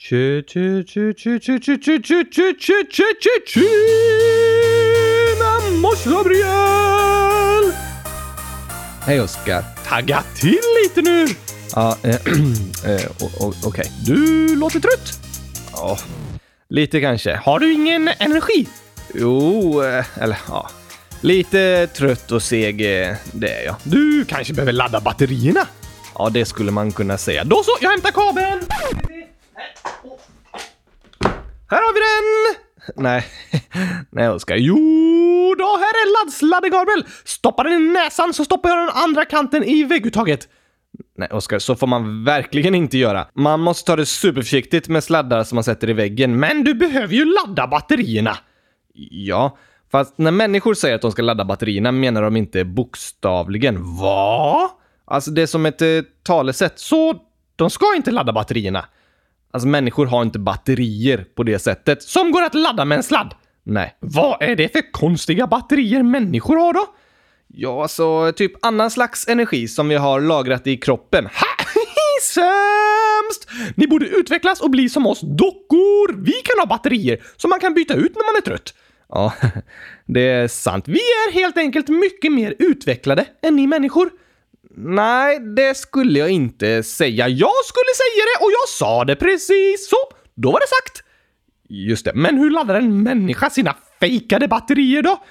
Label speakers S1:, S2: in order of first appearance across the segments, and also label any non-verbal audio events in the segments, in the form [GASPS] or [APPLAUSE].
S1: Tju, tju, tju, tju, tju, tju, tju, tju, tju, tju, tju, tju, tju, Mamos Gabriel!
S2: Hej Oskar.
S1: Tagga till lite nu!
S2: Ja, eh, [CLEARS THROAT] eh, o- o- okej.
S1: Du låter trött.
S2: Ja, lite kanske.
S1: Har du ingen energi?
S2: Jo, eh, eller ja. Lite trött och seg, eh, det är jag.
S1: Du kanske behöver ladda batterierna?
S2: Ja, det skulle man kunna säga. Då,
S1: Då så, jag hämtar kabeln!
S2: här har vi den! Nej, [LAUGHS] nej Oskar. Jo,
S1: Jo, då här är laddsladdekabel! Stoppa den i näsan så stoppar jag den andra kanten i vägguttaget.
S2: nej Oskar, så får man verkligen inte göra. Man måste ta det superförsiktigt med sladdar som man sätter i väggen, men
S1: Men du behöver ju ladda batterierna.
S2: ja. Fast när människor säger att de ska ladda batterierna menar de inte bokstavligen. Va? Alltså det är som ett eh, talesätt.
S1: Så de ska inte ladda batterierna.
S2: Alltså människor har inte batterier på det sättet. Så,
S1: Som går att ladda med en sladd.
S2: nej.
S1: Vad är det för konstiga batterier människor har då? alltså,
S2: Ja, så typ annan slags energi som vi har lagrat i kroppen. Ha!
S1: Ha! [LAUGHS] Sämst! Ni borde utvecklas och bli som oss dockor. Vi kan ha batterier som man kan byta ut när man är trött. [LAUGHS]
S2: Ja, det är sant.
S1: Vi är helt enkelt mycket mer utvecklade än ni människor.
S2: Nej, det skulle jag inte säga.
S1: Ja, jag skulle säga det och jag sa det precis. Så, då var det sagt.
S2: Just det.
S1: Men hur laddar en människa sina fejkade batterier då?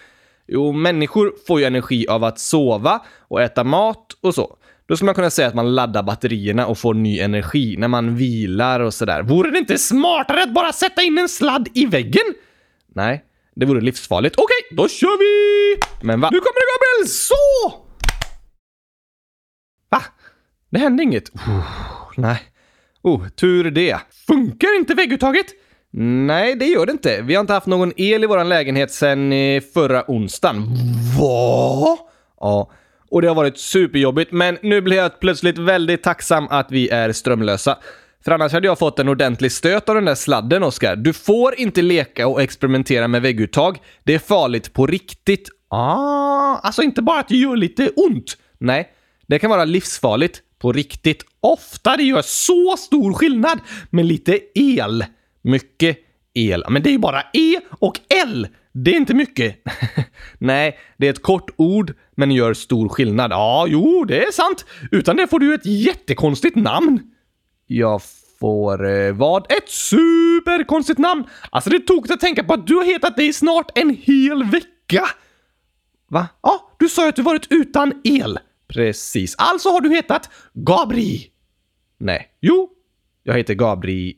S2: Jo, människor får ju energi av att sova och äta mat och så. Då skulle man kunna säga att man laddar batterierna och får ny energi när man vilar och sådär.
S1: Vore det inte smartare att bara sätta in en sladd i väggen?
S2: Nej, det vore livsfarligt. Och
S1: Okej, då kör vi!
S2: Men va?
S1: Nu kommer det Gabriel! Så! Va?
S2: Det hände inget. Oh, nej. Oh, tur det.
S1: Funkar inte vägguttaget?
S2: Nej, det gör det inte. Vi har inte haft någon el i vår lägenhet sedan eh, förra onsdagen.
S1: Va?
S2: Ja, och det har varit superjobbigt, men nu blir jag plötsligt väldigt tacksam att vi är strömlösa. För annars hade jag fått en ordentlig stöt av den där sladden, Oskar. Du får inte leka och experimentera med vägguttag. Det är farligt på riktigt.
S1: Ah, alltså inte bara att det gör lite ont.
S2: Nej, det kan vara livsfarligt på riktigt.
S1: Ofta det gör så stor skillnad med lite el.
S2: Mycket el.
S1: Men det är ju bara E och L. Det är inte mycket. [LAUGHS]
S2: Nej, det är ett kort ord, men gör stor skillnad.
S1: Ja, jo, det är sant. Utan det får du ett jättekonstigt namn.
S2: Jag får eh, vad?
S1: Ett superkonstigt namn! Alltså det är tokigt att tänka på att du har hetat det i snart en hel vecka!
S2: Va?
S1: Ja, du sa ju att du varit utan el.
S2: Precis. Ah,
S1: Alltså har du hetat Gabri.
S2: nej.
S1: Jo,
S2: Jag heter Gabriel.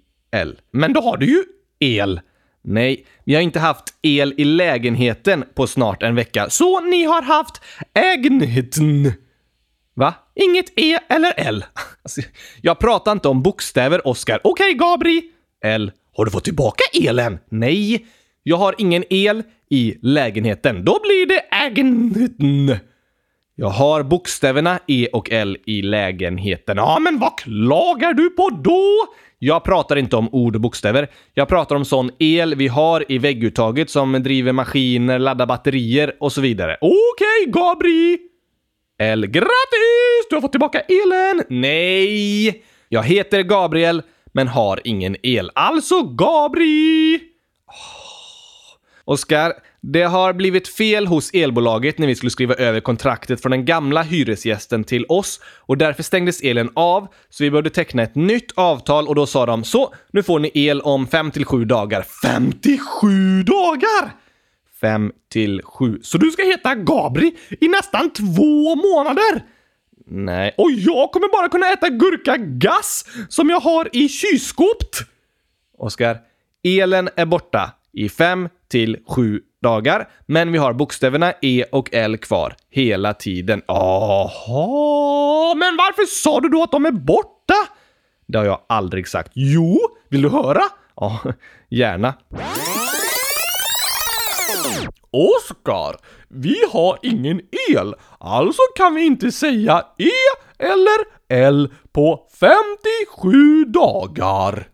S1: men då har du ju el.
S2: Nej, vi har inte haft el i lägenheten på snart en vecka. Så,
S1: Så ni har haft ägnheten.
S2: va?
S1: Inget E eller L.
S2: [LAUGHS] Alltså, jag pratar inte om bokstäver, Oskar.
S1: Okej, Gabri.
S2: El.
S1: Har du fått tillbaka elen?
S2: Nej, jag har ingen el i lägenheten.
S1: Då blir det ägnheten.
S2: Jag har bokstäverna E och L i lägenheten.
S1: Ja, men vad klagar du på då?
S2: Jag pratar inte om ord och bokstäver. Jag pratar om sån el vi har i vägguttaget som driver maskiner, laddar batterier och så vidare.
S1: Okej, Gabri.
S2: El.
S1: Grattis! Du har fått tillbaka elen!
S2: Nej! Jag heter Gabriel, men har ingen el.
S1: Alltså Gabri!
S2: Ah. Oskar, det har blivit fel hos elbolaget när vi skulle skriva över kontraktet från den gamla hyresgästen till oss och därför stängdes elen av så vi behövde teckna ett nytt avtal och då sa de så, nu får ni el om 5 till 7 dagar.
S1: 57 dagar!
S2: 5 till 7.
S1: Så du ska heta Gabri i nästan två månader!
S2: Nej.
S1: Och jag kommer bara kunna äta gurkagass som jag har i kylskåpet!
S2: Oskar, elen är borta i 5 till 7 dagar, men vi har bokstäverna E och L kvar hela tiden.
S1: Aha, men varför sa du då att de är borta?
S2: Det har jag aldrig sagt.
S1: Jo, vill du höra?
S2: Ja, gärna.
S1: Oskar, vi har ingen el, alltså kan vi inte säga E eller L på 57 dagar.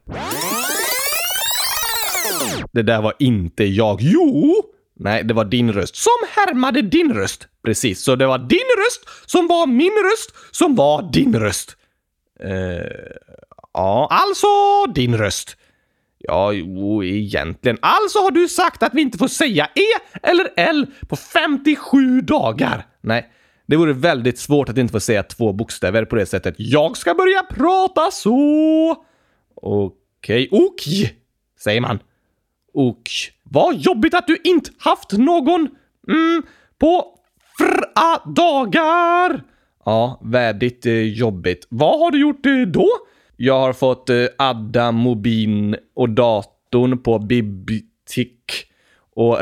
S2: Det där var inte jag.
S1: Jo,
S2: Nej, det var din röst.
S1: som härmade din röst. Precis, så det var din röst som var min röst som var din röst.
S2: Ja,
S1: Alltså Eh, din röst.
S2: Ja, jo, egentligen. Alltså har du sagt att vi inte får säga E eller L på 57 dagar. Nej, det vore väldigt svårt att inte få säga två bokstäver på det sättet. Jag ska börja prata så! Okej, ok, säger man. Och vad jobbigt att du inte haft någon mm, på fra dagar. Ja, väldigt eh, jobbigt. Vad har du gjort eh, då? Jag har fått eh, adda mobiln och datorn på bibliotek och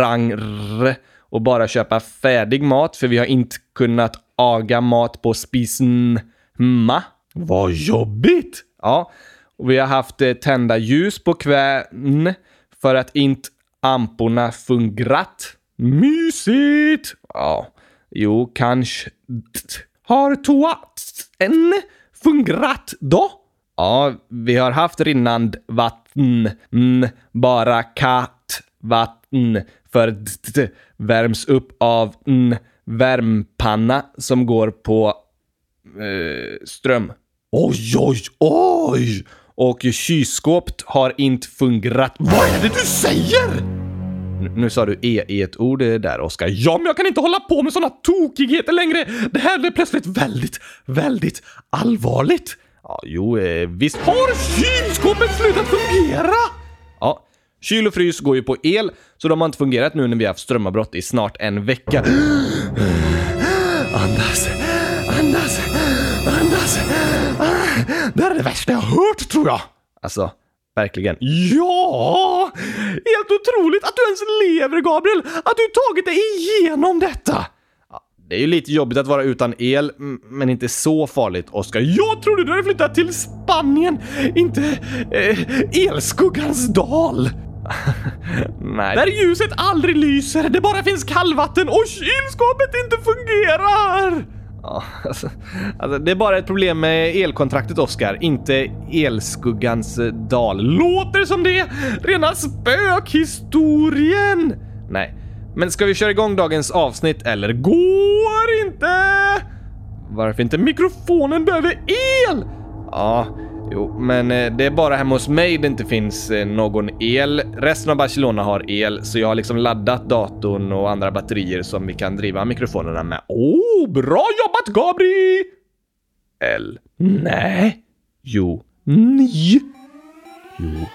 S2: restauranger och bara köpa färdig mat för vi har inte kunnat aga mat på spisen. Ma. Vad jobbigt! Ja, och vi har haft eh, tända ljus på kvällen för att inte amporna fungerat. Mysigt! Ja, jo, kanske. Har toatten fungerat då? Ja, vi har haft rinnande vatten, mm, bara kattvatten, för d- värms upp av en värmpanna som går på eh, ström. Oj, oj, oj! Och kylskåpet har inte fungerat. Vad är det du säger? Nu, nu sa du E i ett ord eh, där, Oskar. Ja, men jag kan inte hålla på med såna tokigheter längre! Det här blir plötsligt väldigt, väldigt allvarligt. Ja, jo, eh, visst. Har kylskåpet slutat fungera? Ja, kyl och frys går ju på el, så de har inte fungerat nu när vi har haft strömavbrott i snart en vecka. Andas, andas, andas. Ah, Det här är det värsta jag hört, tror jag. Alltså, verkligen. Ja! Helt otroligt att du ens lever, Gabriel! Att du tagit dig igenom detta! Det är ju lite jobbigt att vara utan el, m- men inte så farligt, Oskar. Jag trodde du hade flyttat till Spanien, inte eh, Elskuggans dal! Nej. Där ljuset aldrig lyser, det bara finns kallvatten och kylskåpet inte fungerar! Ja, alltså, alltså, det är bara ett problem med elkontraktet, Oskar. Inte elskuggans eh, dal. Låter som det! Rena spökhistorien! Nej, men ska vi köra igång dagens avsnitt eller? Går inte! Varför inte? Mikrofonen behöver el! Ja, jo, men eh, det är bara hemma hos mig det inte finns eh, någon el. Resten av Barcelona har el, så jag har liksom laddat datorn och andra batterier som vi kan driva mikrofonerna med. Oh, bra jobbat Gabri! L. Nej. Jo. Ni. Jo.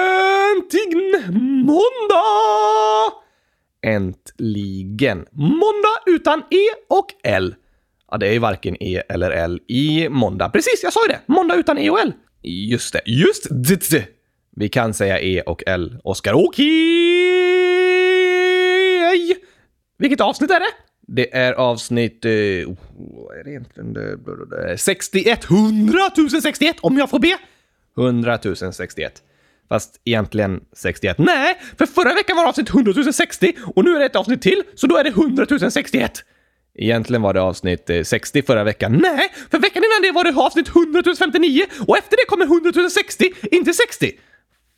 S2: Äntligen måndag! Äntligen. Måndag utan E och L. Ja, det är ju varken E eller L i måndag. Precis, jag sa ju det! Måndag utan E och L. Just det. Just det. det. Vi kan säga E och L. Oskar, okej! Vilket avsnitt är det? Det är avsnitt... Eh, oh, vad är det egentligen? Det- det- det- 61! 100 061 om jag får be! 100 061. Fast egentligen 61. Nej, för förra veckan var det avsnitt 100 060 och nu är det ett avsnitt till, så då är det 100 061. Egentligen var det avsnitt eh, 60 förra veckan. Nej, för veckan innan det var det avsnitt 100 059 och efter det kommer 100 060, inte 60.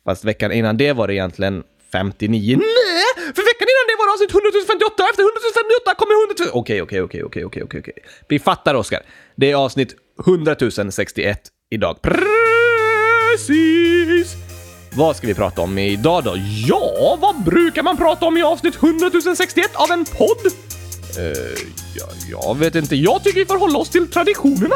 S2: Fast veckan innan det var det egentligen 59. Nej! För veckan innan det var det avsnitt 100 058 och efter 100 058 kommer 100 000... Okej, okej, okej, okej, okej, okej, okej. Vi fattar, Oskar. Det är avsnitt 100 061 idag. Precis! Vad ska vi prata om idag då? Ja, vad brukar man prata om i avsnitt 100 061 av en podd? jag, jag vet inte. Jag tycker vi får hålla oss till traditionerna.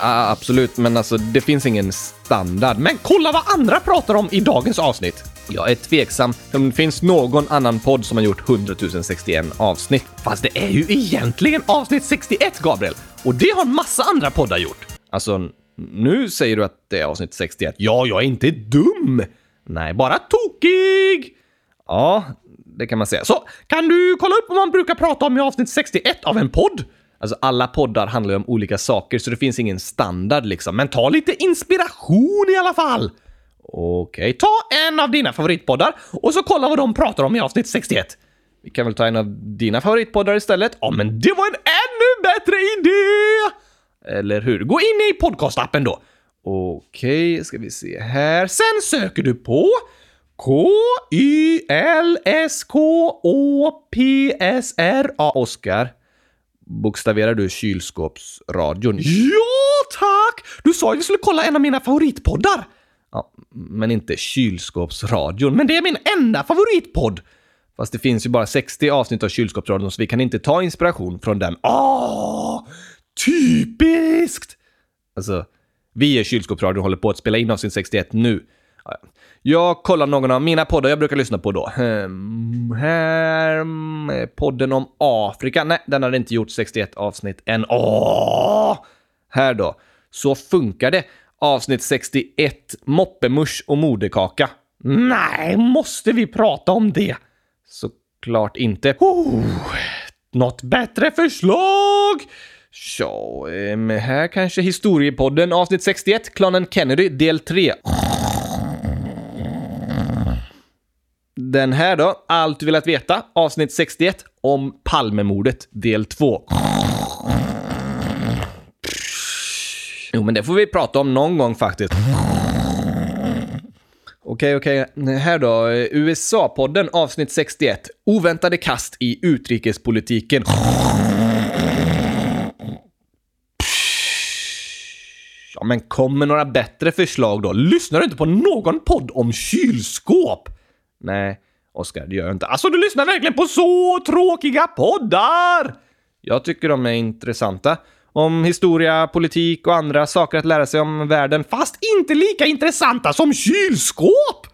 S2: absolut, men alltså det finns ingen standard. Men kolla vad andra pratar om i dagens avsnitt. Jag är tveksam om det finns någon annan podd som har gjort 100 061 avsnitt. Fast det är ju egentligen avsnitt 61, Gabriel. Och det har en massa andra poddar gjort. Alltså, n- nu säger du att det är avsnitt 61. Ja, jag är inte dum! Nej, bara tokig! Ja, det kan man säga. Så, kan du kolla upp vad man brukar prata om i avsnitt 61 av en podd? Alltså alla poddar handlar ju om olika saker så det finns ingen standard liksom. Men ta lite inspiration i alla fall! Okej, ta en av dina favoritpoddar och så kolla vad de pratar om i avsnitt 61. Vi kan väl ta en av dina favoritpoddar istället? Ja, men det var en ännu bättre idé! eller hur? Gå in i podcastappen då. Okej, ska vi se här. Sen söker du på K-Y-L-S-K-Å-P-S-R-A. Oskar, bokstaverar du kylskåpsradion?
S1: Ja, tack! Du sa ju vi skulle kolla en av mina favoritpoddar.
S2: Ja, men inte kylskåpsradion. Men det är min enda favoritpodd! Fast det finns ju bara 60 avsnitt av kylskåpsradion så vi kan inte ta inspiration från den.
S1: Ah, typiskt!
S2: Alltså, vi är kylskåpsradion håller på att spela in avsnitt 61 nu. Ja, ja. Jag kollar någon av mina poddar jag brukar lyssna på då. Ehm, här... mm, Podden om Afrika. Nej, den hade inte gjort 61 avsnitt än. Åh! Här då. Så funkar det. Avsnitt 61. Moppemusch och moderkaka. Nej, måste vi prata om det? Såklart inte.
S1: Oh,
S2: Något bättre förslag? Ja, ehm, här kanske Historiepodden avsnitt 61, Klanen Kennedy del 3. Den här då, Allt du velat veta, avsnitt 61 om Palmemordet del 2. Jo, men det får vi prata om någon gång faktiskt. Okej, okej. Här då. eh, USA-podden avsnitt 61. Oväntade kast i utrikespolitiken. Ja, men kom med några bättre förslag då. Lyssnar du inte på någon podd om kylskåp? Nej, Oskar, det gör jag inte. Alltså, du lyssnar verkligen på så tråkiga poddar! Jag tycker de är intressanta. Om historia, politik och andra saker att lära sig om världen, fast inte lika intressanta som kylskåp!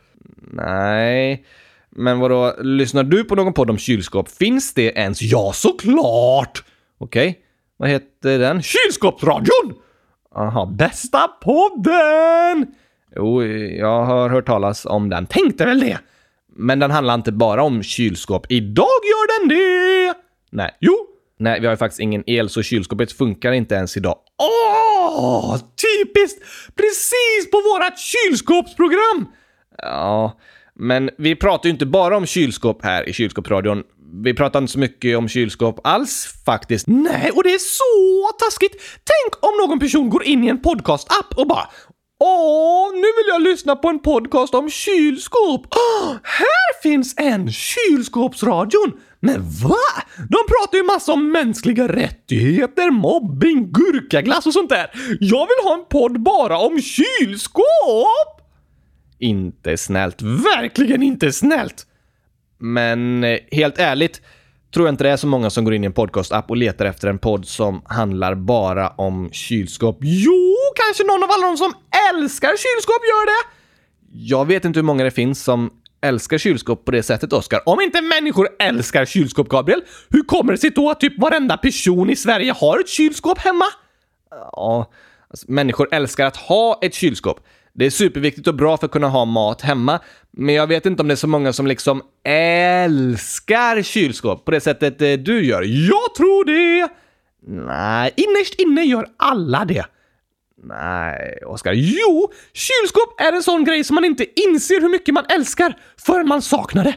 S2: Nej, men vadå, lyssnar du på någon podd om kylskåp? Finns det ens? Ja, såklart! Okej, vad heter den?
S1: kylskåpsradion!
S2: Aha, bästa podden! Jo, jag har hört talas om den. Tänkte väl det! Men den handlar inte bara om kylskåp. Idag gör den det! Nej. Jo! Nej, vi har ju faktiskt ingen el så kylskåpet funkar inte ens idag.
S1: Åh, typiskt! Precis på vårat kylskåpsprogram!
S2: Ja, men vi pratar ju inte bara om kylskåp här i kylskåpsradion. Vi pratar inte så mycket om kylskåp alls faktiskt.
S1: Nej, och det är så taskigt! Tänk om någon person går in i en podcast-app och bara Åh, nu vill jag lyssna på en podcast om kylskåp! Åh, här finns en! Kylskåpsradion! Men va? De pratar ju massa om mänskliga rättigheter, mobbing, gurkaglass och sånt där. Jag vill ha en podd bara om kylskåp!
S2: Inte snällt.
S1: Verkligen inte snällt!
S2: Men eh, helt ärligt tror jag inte det är så många som går in i en podcastapp och letar efter en podd som handlar bara om kylskåp.
S1: Jo, kanske någon av alla de som älskar kylskåp gör det!
S2: Jag vet inte hur många det finns som älskar kylskåp på det sättet, Oskar.
S1: Om inte människor älskar kylskåp, Gabriel, hur kommer det sig då att typ varenda person i Sverige har ett kylskåp hemma?
S2: Ja, alltså, människor älskar att ha ett kylskåp. Det är superviktigt och bra för att kunna ha mat hemma, men jag vet inte om det är så många som liksom älskar kylskåp på det sättet eh, du gör. Jag tror det! Nej,
S1: Innerst inne gör alla det.
S2: nej, Oskar.
S1: Oskar, jo! Kylskåp är en sån grej som man inte inser hur mycket man älskar förrän man saknar det.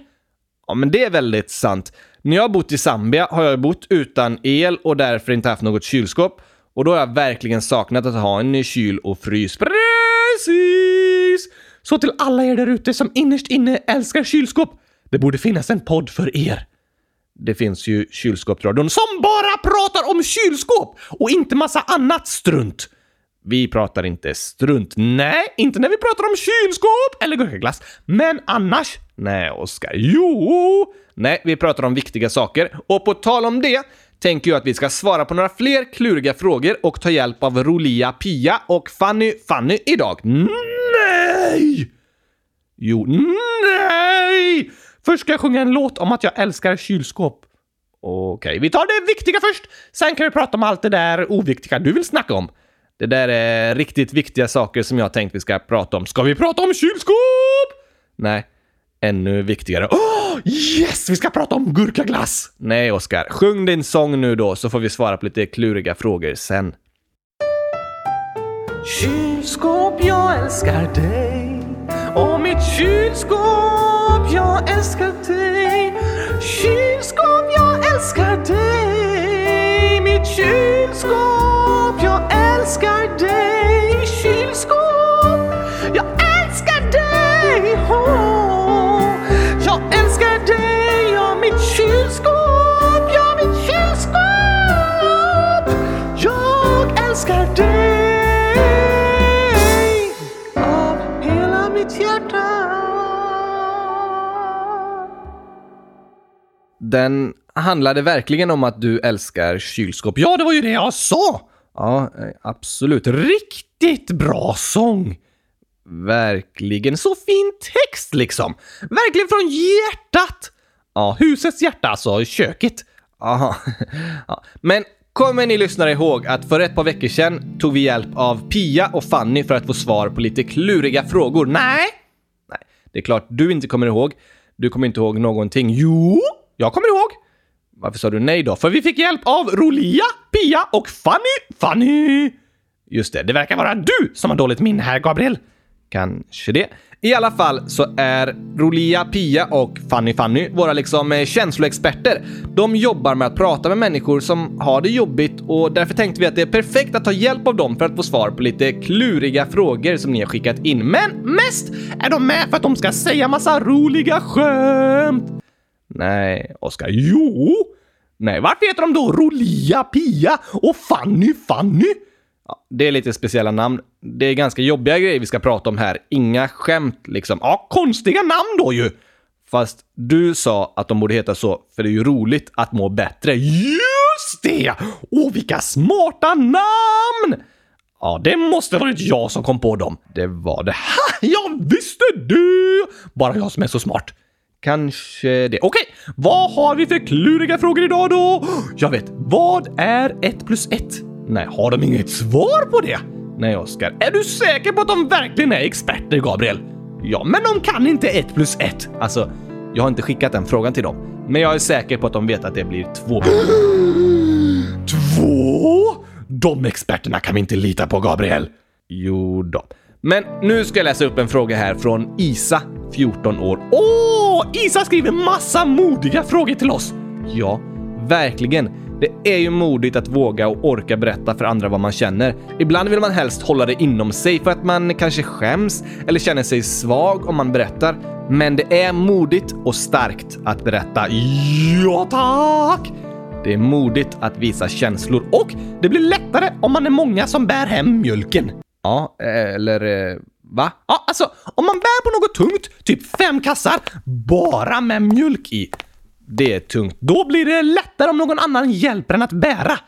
S2: Ja, men det är väldigt sant. När jag har bott i Zambia har jag bott utan el och därför inte haft något kylskåp. Och då har jag verkligen saknat att ha en ny kyl och frys.
S1: Precis! Så till alla er där ute som innerst inne älskar kylskåp, det borde finnas en podd för er.
S2: Det finns ju kylskåpsradion.
S1: Som bara pratar om kylskåp och inte massa annat strunt.
S2: Vi pratar inte strunt.
S1: Nej, inte när vi pratar om kylskåp eller gurkaglass. Men annars.
S2: Nej, Oskar. Jo! Nej, vi pratar om viktiga saker. Och på tal om det tänker jag att vi ska svara på några fler kluriga frågor och ta hjälp av Rolia Pia och Fanny Fanny idag.
S1: Nej!
S2: Jo,
S1: Nej! Först ska jag sjunga en låt om att jag älskar kylskåp.
S2: okej.
S1: Vi tar det viktiga först, sen kan vi prata om allt det där oviktiga du vill snacka om.
S2: Det där är riktigt viktiga saker som jag tänkt vi ska prata om. Ska vi prata om kylskåp? Nej, ännu viktigare. Åh,
S1: Åh, yes! Vi ska prata om gurkaglass!
S2: nej, Oskar. Sjung din sång nu då så får vi svara på lite kluriga frågor sen.
S1: Kylskåp, jag älskar dig Och mitt kylskåp, jag älskar dig Kylskåp, jag älskar dig Mitt kylskåp, jag älskar
S2: den handlade verkligen om att du älskar kylskåp.
S1: Ja, det var ju det jag sa!
S2: Ja, eh, absolut.
S1: Riktigt bra sång!
S2: Verkligen.
S1: Så fin text liksom! Verkligen från hjärtat! Ja, husets hjärta alltså, köket.
S2: Aha. [LAUGHS] Ja. Men kommer ni lyssnare ihåg att för ett par veckor sedan tog vi hjälp av Pia och Fanny för att få svar på lite kluriga frågor? Nej! Nej, det är klart du inte kommer ihåg. Du kommer inte ihåg någonting. Jo!
S1: Jag kommer ihåg!
S2: Varför sa du nej då? För vi fick hjälp av...
S1: Av Rolia, Pia och Fanny! Fanny!
S2: Just det,
S1: Det verkar vara du som har dåligt minne här, Gabriel.
S2: Kanske det. I alla fall så är Rolia, Pia och Fanny Fanny våra liksom eh, känsloexperter. De jobbar med att prata med människor som har det jobbigt och därför tänkte vi att det är perfekt att ta hjälp av dem för att få svar på lite kluriga frågor som ni har skickat in. Men mest
S1: Är de med för att de ska säga massa roliga skämt?
S2: Nej, Oskar.
S1: Jo! Nej, varför heter de då Rolia, Pia och Fanny Fanny?
S2: Ja, det är lite speciella namn. Det är ganska jobbiga grejer vi ska prata om här. Inga skämt liksom.
S1: Ja, konstiga namn då ju!
S2: Fast du sa att de borde heta så för det är ju roligt att må bättre.
S1: Just det! Och vilka smarta namn! Ja, det måste varit jag som kom på dem.
S2: Det var det.
S1: Ha! Jag visste det! Bara jag som är så smart.
S2: Kanske det.
S1: Okej, vad har vi för kluriga frågor idag då? Jag vet, vad är 1 plus 1? Nej, har de inget svar på det?
S2: Nej, Oskar.
S1: Är du säker på att de verkligen är experter, Gabriel? Ja, men de kan inte 1 plus 1.
S2: Alltså, jag har inte skickat den frågan till dem. Men jag är säker på att de vet att det blir två.
S1: Två? De experterna kan vi inte lita på, Gabriel.
S2: Jo då. Men nu ska jag läsa upp en fråga här från Isa, 14 år. Och
S1: Åh, Isa skriver massa modiga frågor till oss.
S2: ja, verkligen. Det är ju modigt att våga och orka berätta för andra vad man känner. Ibland vill man helst hålla det inom sig för att man kanske skäms eller känner sig svag om man berättar. Men det är modigt och starkt att berätta.
S1: Ja, tack!
S2: Det är modigt att visa känslor och
S1: Och det blir lättare om man är många som bär hem mjölken.
S2: Ja, eller eh, va?
S1: Ja, alltså, om man bär på något tungt, typ fem kassar, bara med mjölk i,
S2: Det är tungt.
S1: då blir det lättare om någon annan hjälper en att bära.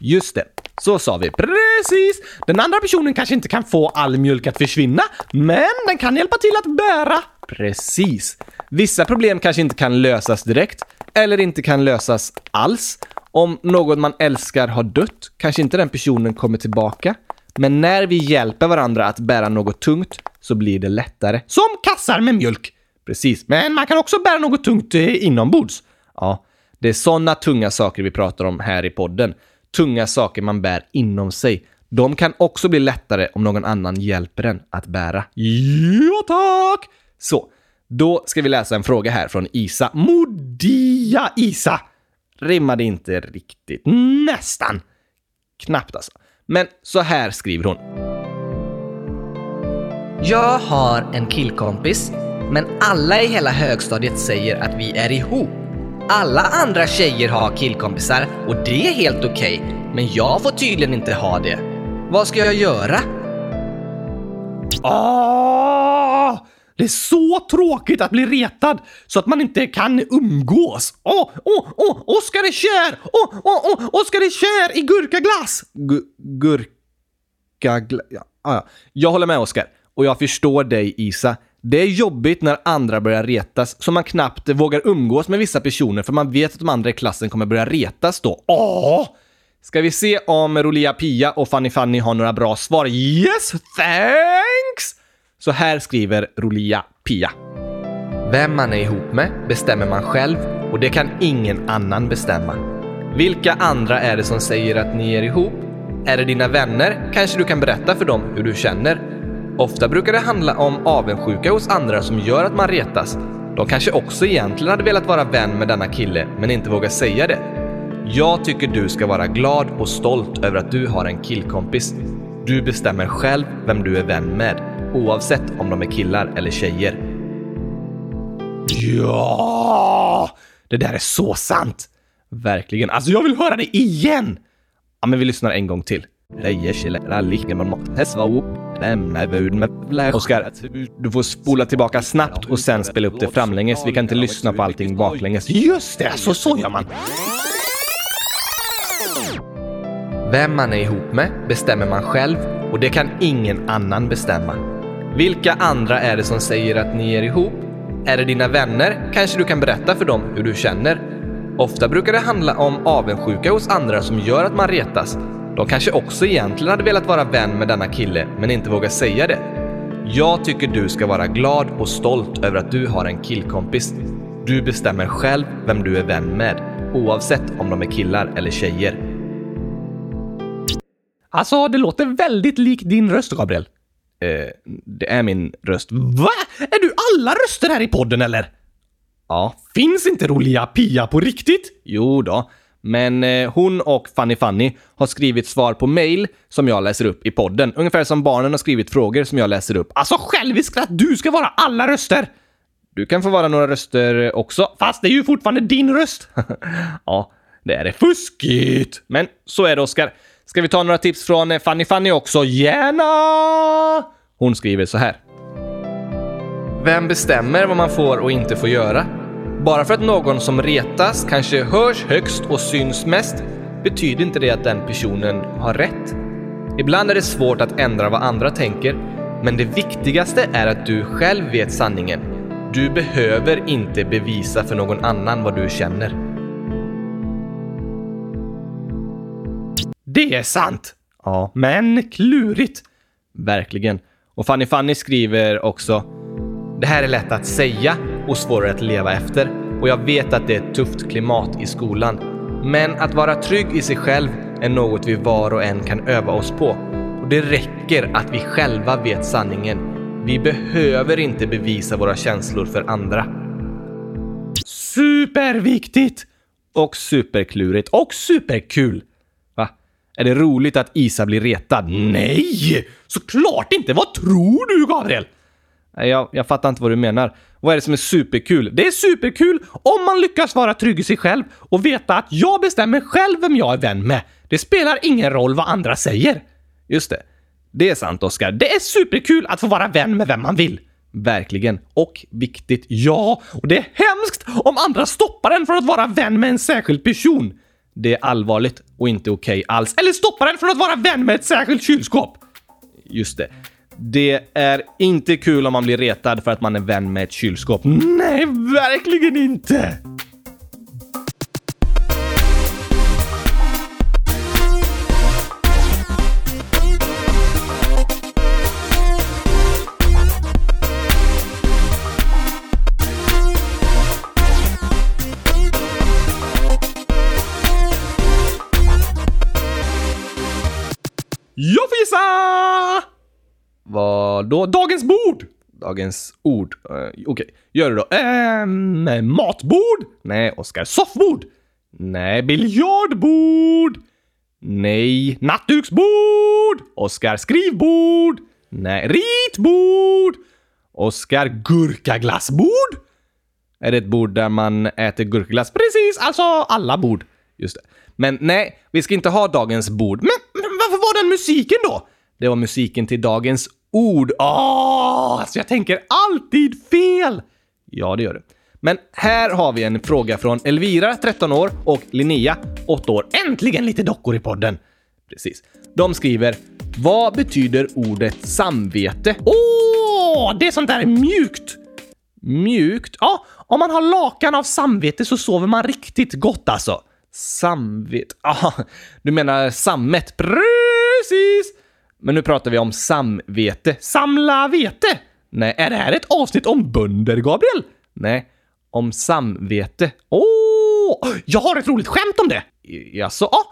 S2: Just det. Så sa vi.
S1: Precis! Den andra personen kanske inte kan få all mjölk att försvinna, men den kan hjälpa till att bära.
S2: Precis. Vissa problem kanske inte kan lösas direkt eller inte kan lösas alls. Om någon man älskar har dött kanske inte den personen kommer tillbaka. Men när vi hjälper varandra att bära något tungt så blir det lättare.
S1: Som kassar med mjölk.
S2: Precis. Men
S1: Men man kan också bära något tungt eh, inombords.
S2: ja, det är sådana tunga saker vi pratar om här i podden. Tunga saker man bär inom sig. De kan också bli lättare om någon annan hjälper en att bära.
S1: Ja, tack!
S2: Så, då ska vi läsa en fråga här från Isa.
S1: Modia Isa.
S2: Rimmade inte riktigt.
S1: Nästan.
S2: Knappt alltså. Men så här skriver hon.
S3: Jag har en killkompis, men alla i hela högstadiet säger att vi är ihop. Alla andra tjejer har killkompisar och det är helt okej, men jag får tydligen inte ha det. Vad ska jag göra?
S1: Ah, det är så tråkigt att bli retad så att man inte kan umgås. Åh, åh, åh, Oskar är kär! Åh, åh, åh, Oskar är kär i gurkaglass!
S2: Gu- gurka... Gla- ja, ah, ja. Jag håller med Oskar. Och jag förstår dig Isa. Det är jobbigt när andra börjar retas så man knappt vågar umgås med vissa personer för man vet att de andra i klassen kommer börja retas då.
S1: Åh,
S2: Ska vi se om Rolia Pia och Fanny Fanny har några bra svar? Yes, thanks! Så här skriver Rolia Pia.
S3: Vem man är ihop med bestämmer man själv och det kan ingen annan bestämma.
S2: Vilka andra är det som säger att ni är ihop? Är det dina vänner? Kanske du kan berätta för dem hur du känner? Ofta brukar det handla om avundsjuka hos andra som gör att man retas. De kanske också egentligen hade velat vara vän med denna kille, men inte vågar säga det. Jag tycker du ska vara glad och stolt över att du har en killkompis. Du bestämmer själv vem du är vän med, oavsett om de är killar eller tjejer.
S1: ja! Det där är så sant!
S2: Verkligen.
S1: Alltså, jag vill höra det igen!
S2: Ja, men vi lyssnar en gång till. Oskar, du får spola tillbaka snabbt och sen spela upp det framlänges. Vi kan inte lyssna på allting baklänges.
S1: Just det, så, så gör man.
S3: Vem man är ihop med bestämmer man själv och det kan ingen annan bestämma. Vilka andra är det som säger att ni är ihop? Är det dina vänner? Kanske du kan berätta för dem hur du känner? Ofta brukar det handla om avundsjuka hos andra som gör att man retas. De kanske också egentligen hade velat vara vän med denna kille men inte vågar säga det. Jag tycker du ska vara glad och stolt över att du har en killkompis. Du bestämmer själv vem du är vän med, oavsett om de är killar eller tjejer.
S1: Alltså, det låter väldigt lik din röst, Gabriel.
S2: Eh, det är min röst.
S1: Va? Är du alla röster här i podden, eller?
S2: Ja,
S1: Finns inte roliga Pia på riktigt?
S2: Jo då. Men eh, hon och Fanny Fanny har skrivit svar på mail som jag läser upp i podden. Ungefär som barnen har skrivit frågor som jag läser upp.
S1: Alltså, själviskt att du ska vara alla röster!
S2: Du kan få vara några röster också.
S1: Fast det är ju fortfarande din röst.
S2: [LAUGHS] Ja, det är det.
S1: Fuskigt!
S2: Men så är det, Oskar. Ska vi ta några tips från eh, Fanny Fanny också? Gärna! Hon skriver så här.
S3: Vem bestämmer vad man får och inte får göra? Bara för att någon som retas kanske hörs högst och syns mest betyder inte det att den personen har rätt. Ibland är det svårt att ändra vad andra tänker, men det viktigaste är att du själv vet sanningen. Du behöver inte bevisa för någon annan vad du känner.
S1: Det är sant.
S2: Ja,
S1: Men klurigt.
S2: verkligen. Och Fanny Fanny skriver också.
S3: Det här är lätt att säga och svårare att leva efter och jag vet att det är ett tufft klimat i skolan. Men att vara trygg i sig själv är något vi var och en kan öva oss på. Och det räcker att vi själva vet sanningen. Vi behöver inte bevisa våra känslor för andra.
S1: Superviktigt!
S2: Och superklurigt. Och superkul! Va? Är det roligt att Isa blir retad?
S1: Nej! Såklart inte! Vad tror du, Gabriel?
S2: Nej, Jag, jag fattar inte vad du menar. Vad är det som är superkul?
S1: Det är superkul om man lyckas vara trygg i sig själv och veta att jag bestämmer själv vem jag är vän med. Det spelar ingen roll vad andra säger.
S2: Just det. Det är sant, Oskar.
S1: Det är superkul att få vara vän med vem man vill.
S2: Verkligen. Och viktigt.
S1: Ja, och det är hemskt om andra stoppar en från att vara vän med en särskild person.
S2: Det är allvarligt och inte okej alls.
S1: Eller stoppar en från att vara vän med ett särskilt kylskåp.
S2: Just det. Det är inte kul om man blir retad för att man är vän med ett kylskåp.
S1: Nej, verkligen inte! Jag får gissa!
S2: Vad då?
S1: Dagens bord!
S2: Dagens ord. Eh, Okej, gör det då. Eh,
S1: Ehm, matbord?
S2: nej, Oskar.
S1: Soffbord?
S2: Nej, Bill.
S1: Biljardbord?
S2: Nej.
S1: Nattduksbord?
S2: Oskar.
S1: Skrivbord?
S2: Nej. Ri-
S1: Ritbord?
S2: Oskar. gu-
S1: Gurkaglassbord?
S2: Är det ett bord där man äter gurkglass?
S1: Precis, alltså alla bord.
S2: Just det. Men nej, vi ska inte ha dagens bord. Men
S1: Men, men varför var den musiken då?
S2: det var musiken till dagens ord.
S1: Åh, alltså jag tänker alltid fel!
S2: Ja, det gör det. Men här har vi en fråga från Elvira, 13 år, och Linnea, 8 år.
S1: Äntligen lite dockor i podden.
S2: Precis. De skriver Vad betyder ordet samvete?
S1: Åh, det är sånt där mjukt.
S2: Mjukt?
S1: Ja, om man har lakan av samvete så sover man riktigt gott alltså.
S2: Samvete?
S1: [LAUGHS]
S2: Aha, du menar sammet? Precis! Men nu pratar vi om samvete.
S1: Samla vete!
S2: Nej,
S1: Är det här ett avsnitt om bönder, Gabriel?
S2: nej. Om samvete.
S1: Åh! Jag har ett roligt skämt om det!
S2: Jaså?
S1: Ja,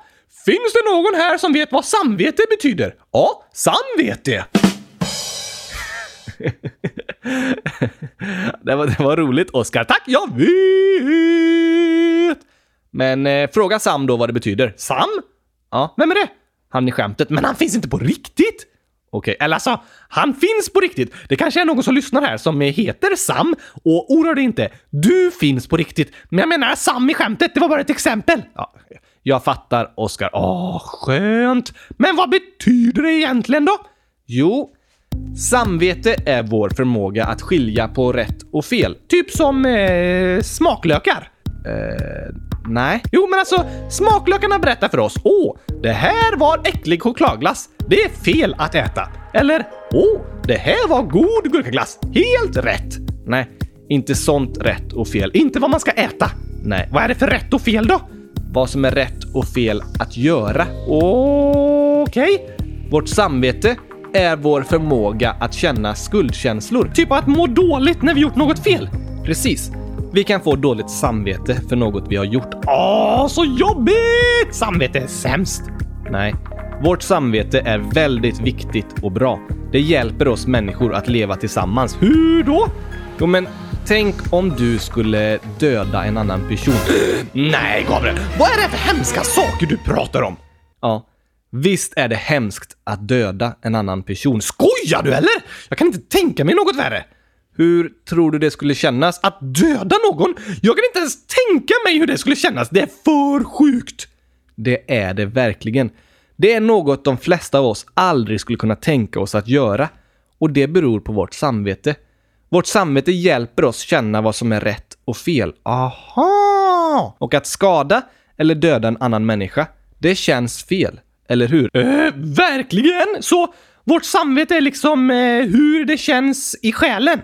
S1: finns det någon här som vet vad samvete betyder? Ja, samvete!
S2: Det var, det var roligt, Oskar. Tack!
S1: Jag vet!
S2: Men eh, fråga Sam då vad det betyder.
S1: Sam?
S2: Ja,
S1: Vem är det?
S2: han i skämtet.
S1: Men han finns inte på riktigt!
S2: Okej,
S1: Eller alltså, han finns på riktigt. Det kanske är någon som lyssnar här som heter Sam och oroa dig inte, du finns på riktigt. Men jag menar Sam i skämtet, det var bara ett exempel.
S2: ja, jag fattar, Oskar.
S1: Åh, skönt. Men vad betyder det egentligen då?
S2: Jo, Samvete är vår förmåga att skilja på rätt och fel.
S1: Typ som eh, smaklökar.
S2: Eh, nej.
S1: Jo, men alltså smaklökarna berättar för oss. Åh, det här var äcklig chokladglass. Det är fel att äta. Eller, åh, det här var god gurkaglass. Helt rätt.
S2: Nej, inte sånt rätt och fel. In-
S1: Inte vad man ska äta.
S2: nej,
S1: Vad är det för rätt och fel då?
S2: vad som är rätt och fel att göra.
S1: Okej.
S2: Vårt samvete är vår förmåga att känna skuldkänslor.
S1: Typ att må dåligt när vi gjort något fel.
S2: Precis. Vi kan få dåligt samvete för något vi har gjort.
S1: Åh, så jobbigt! Samvete är sämst.
S2: Nej. Vårt samvete är väldigt viktigt och bra. Det hjälper oss människor att leva tillsammans.
S1: Hur då?
S2: Jo, men tänk om du skulle döda en annan person.
S1: [CLEARS THROAT] Nej, Gabriel. Vad är det för hemska saker du pratar om?
S2: Ja. Visst är det hemskt att döda en annan person?
S1: Skojar du eller? Jag kan inte tänka mig något värre.
S2: Hur tror du det skulle kännas att...
S1: Att döda någon? Jag kan inte ens tänka mig hur det skulle kännas. Det är för sjukt.
S2: Det är det verkligen. Det är något de flesta av oss aldrig skulle kunna tänka oss att göra. Och det beror på vårt samvete. Vårt samvete hjälper oss känna vad som är rätt och fel.
S1: Aha!
S2: Och att skada eller döda en annan människa, det känns fel. Eller hur?
S1: Eh, verkligen! Så vårt samvete är liksom eh, hur det känns i själen.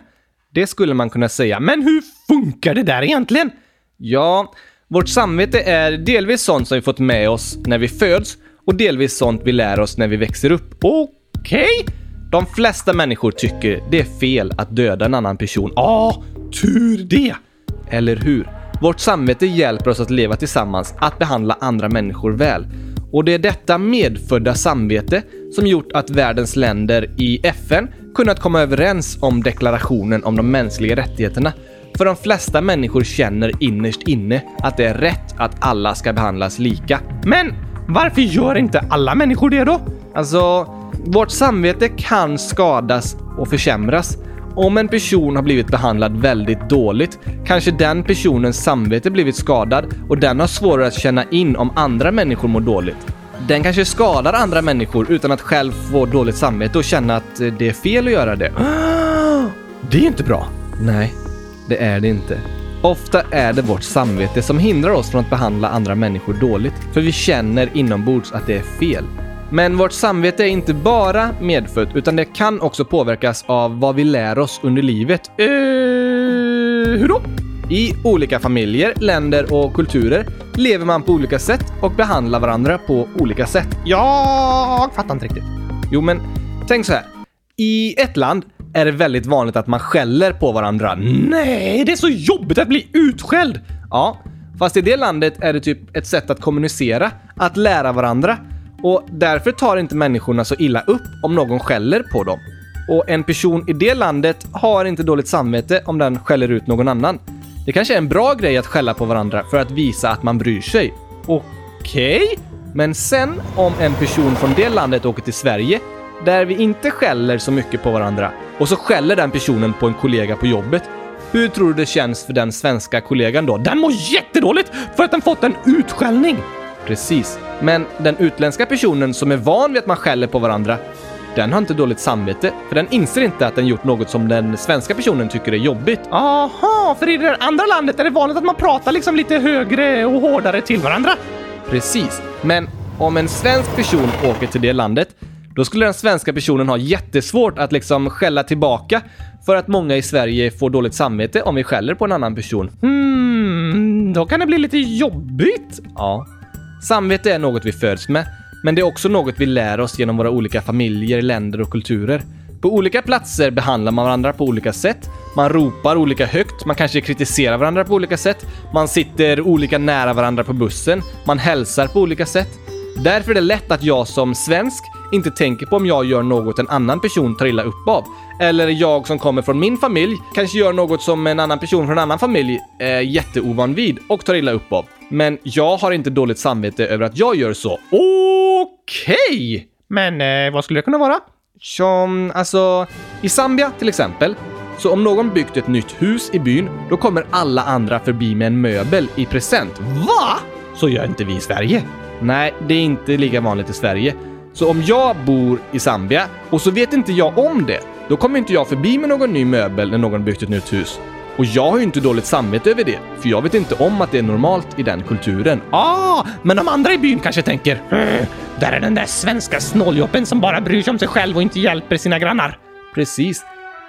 S2: Det skulle man kunna säga. Men
S1: Men hur funkar det där egentligen?
S2: ja, vårt samvete är delvis sånt som vi fått med oss när vi föds och delvis sånt vi lär oss när vi växer upp.
S1: Okej?
S2: De flesta människor tycker det är fel att döda en annan person.
S1: Ja, tur det!
S2: Eller hur? Vårt samvete hjälper oss att leva tillsammans, att behandla andra människor väl. Och det är detta medfödda samvete som gjort att världens länder i FN kunnat komma överens om deklarationen om de mänskliga rättigheterna. För de flesta människor känner innerst inne att det är rätt att alla ska behandlas lika.
S1: Men varför gör inte alla människor det då?
S2: Alltså, vårt samvete kan skadas och försämras. Om en person har blivit behandlad väldigt dåligt, kanske den personens samvete blivit skadad och den har svårare att känna in om andra människor mår dåligt. Den kanske skadar andra människor utan att själv få dåligt samvete och känna att eh, det är fel att göra det. [GASPS]
S1: Det är inte bra.
S2: Nej, det är det inte. Ofta är det vårt samvete som hindrar oss från att behandla andra människor dåligt, för vi känner inombords att det är fel. Men vårt samvete är inte bara medfött, utan det kan också påverkas av vad vi lär oss under livet.
S1: Eh, hur då?
S2: I olika familjer, länder och kulturer lever man på olika sätt och behandlar varandra på olika sätt.
S1: Jag fattar inte riktigt.
S2: Jo, men tänk så här. I ett land är det väldigt vanligt att man skäller på varandra.
S1: Nej, det är så jobbigt att bli utskälld!
S2: Ja, fast i det landet är det typ ett sätt att kommunicera, att lära varandra. Och därför tar inte människorna så illa upp om någon skäller på dem. Och en person i det landet har inte dåligt samvete om den skäller ut någon annan. Det kanske är en bra grej att skälla på varandra för att visa att man bryr sig. Okej? Men sen om en person från det landet åker till Sverige, där vi inte skäller så mycket på varandra, och så skäller den personen på en kollega på jobbet, hur tror du det känns för den svenska kollegan då?
S1: Den mår jättedåligt för att den fått en utskällning.
S2: Precis. Men den utländska personen som är van vid att man skäller på varandra, den har inte dåligt samvete, för den inser inte att den gjort något som den svenska personen tycker är jobbigt.
S1: Aha, för i det där andra landet är det vanligt att man pratar liksom lite högre och hårdare till varandra.
S2: Precis. Men om en svensk person åker till det landet, då skulle den svenska personen ha jättesvårt att liksom skälla tillbaka för att många i Sverige får dåligt samvete om vi skäller på en annan person.
S1: Hmm, då kan det bli lite jobbigt.
S2: Ja. Samvete är något vi föds med, men det är också något vi lär oss genom våra olika familjer, länder och kulturer. På olika platser behandlar man varandra på olika sätt. Man ropar olika högt, man kanske kritiserar varandra på olika sätt. Man sitter olika nära varandra på bussen. Man hälsar på olika sätt. Därför är det lätt att jag som svensk inte tänker på om jag gör något en annan person tar illa upp av. Eller jag som kommer från min familj kanske gör något som en annan person från en annan familj är jätteovan vid och tar illa upp av. Men jag har inte dåligt samvete över att jag gör så. Okej!
S1: Men eh, vad skulle det kunna vara?
S2: Som, alltså, i Zambia till exempel. Så om någon byggt ett nytt hus i byn, då kommer alla andra förbi med en möbel i present.
S1: Va? Så gör inte vi i Sverige.
S2: Nej, det är inte lika vanligt i Sverige. Så om jag bor i Zambia och så vet inte jag om det, då kommer inte jag förbi med någon ny möbel när någon byggt ett nytt hus. Och jag har ju inte dåligt samvete över det, för jag vet inte om att det är normalt i den kulturen.
S1: Ah, men de andra i byn kanske tänker
S2: "Hm,
S1: "Mm, Där är den där svenska snåljåpen som bara bryr sig om sig själv och inte hjälper sina grannar.
S2: Precis.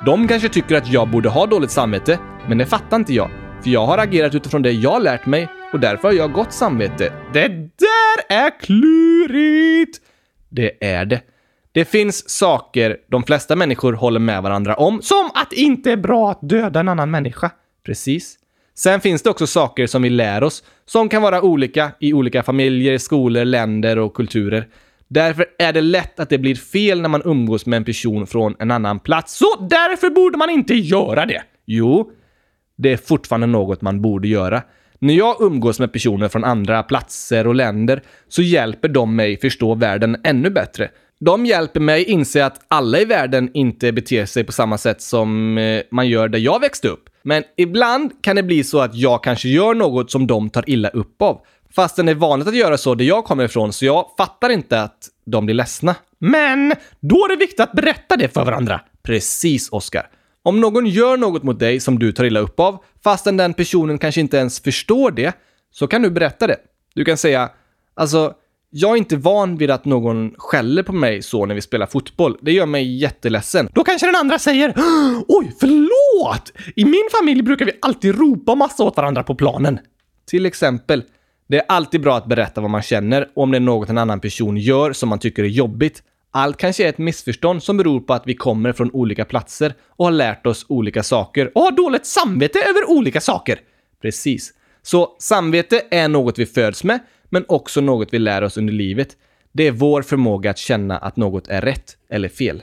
S2: De kanske tycker att jag borde ha dåligt samvete, men det fattar inte jag. För jag har agerat utifrån det jag lärt mig och därför har jag gott samvete. Det där är klurigt! Det är det. Det finns saker de flesta människor håller med varandra om.
S1: Som att inte är bra att döda en annan människa.
S2: Precis. Sen finns det också saker som vi lär oss som kan vara olika i olika familjer, skolor, länder och kulturer. Därför är det lätt att det blir fel när man umgås med en person från en annan plats. Så
S1: Så därför borde man inte göra det.
S2: Jo, det är fortfarande något man borde göra. När jag umgås med personer från andra platser och länder så hjälper de mig förstå världen ännu bättre. De hjälper mig inse att alla i världen inte beter sig på samma sätt som eh, man gör där jag växte upp. Men ibland kan det bli så att jag kanske gör något som de tar illa upp av. Fastän det är vanligt att göra så där jag kommer ifrån, så jag fattar inte att de blir ledsna.
S1: Men då är det viktigt att berätta det för varandra.
S2: Precis, Oscar. Om någon gör något mot dig som du tar illa upp av, fastän den personen kanske inte ens förstår det, så kan du berätta det. Du kan säga, alltså, jag är inte van vid att någon skäller på mig så när vi spelar fotboll. Det gör mig jätteledsen.
S1: Då kanske den andra säger Oj, förlåt! I min familj brukar vi alltid ropa massa åt varandra på planen.
S2: Till exempel, det är alltid bra att berätta vad man känner och om det är något en annan person gör som man tycker är jobbigt. Allt kanske är ett missförstånd som beror på att vi kommer från olika platser och har lärt oss olika saker
S1: Och ha dåligt samvete över olika saker.
S2: Precis. Så samvete är något vi föds med, men också något vi lär oss under livet. Det är vår förmåga att känna att något är rätt eller fel.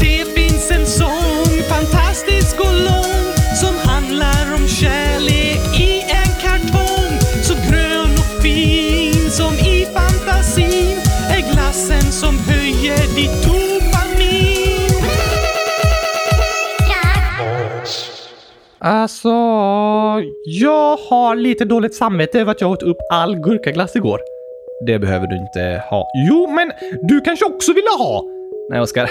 S4: Det finns en sång, fantastisk och lång, som handlar om kärlek i en kartong. Så grön och fin som i fantasin är glassen som höjer ditt dopamin.
S1: Alltså, jag har lite dåligt samvete över att jag åt upp all gurkaglass igår.
S2: Det behöver du inte ha.
S1: Jo, men du kanske också ville ha?
S2: Nej, Oskar.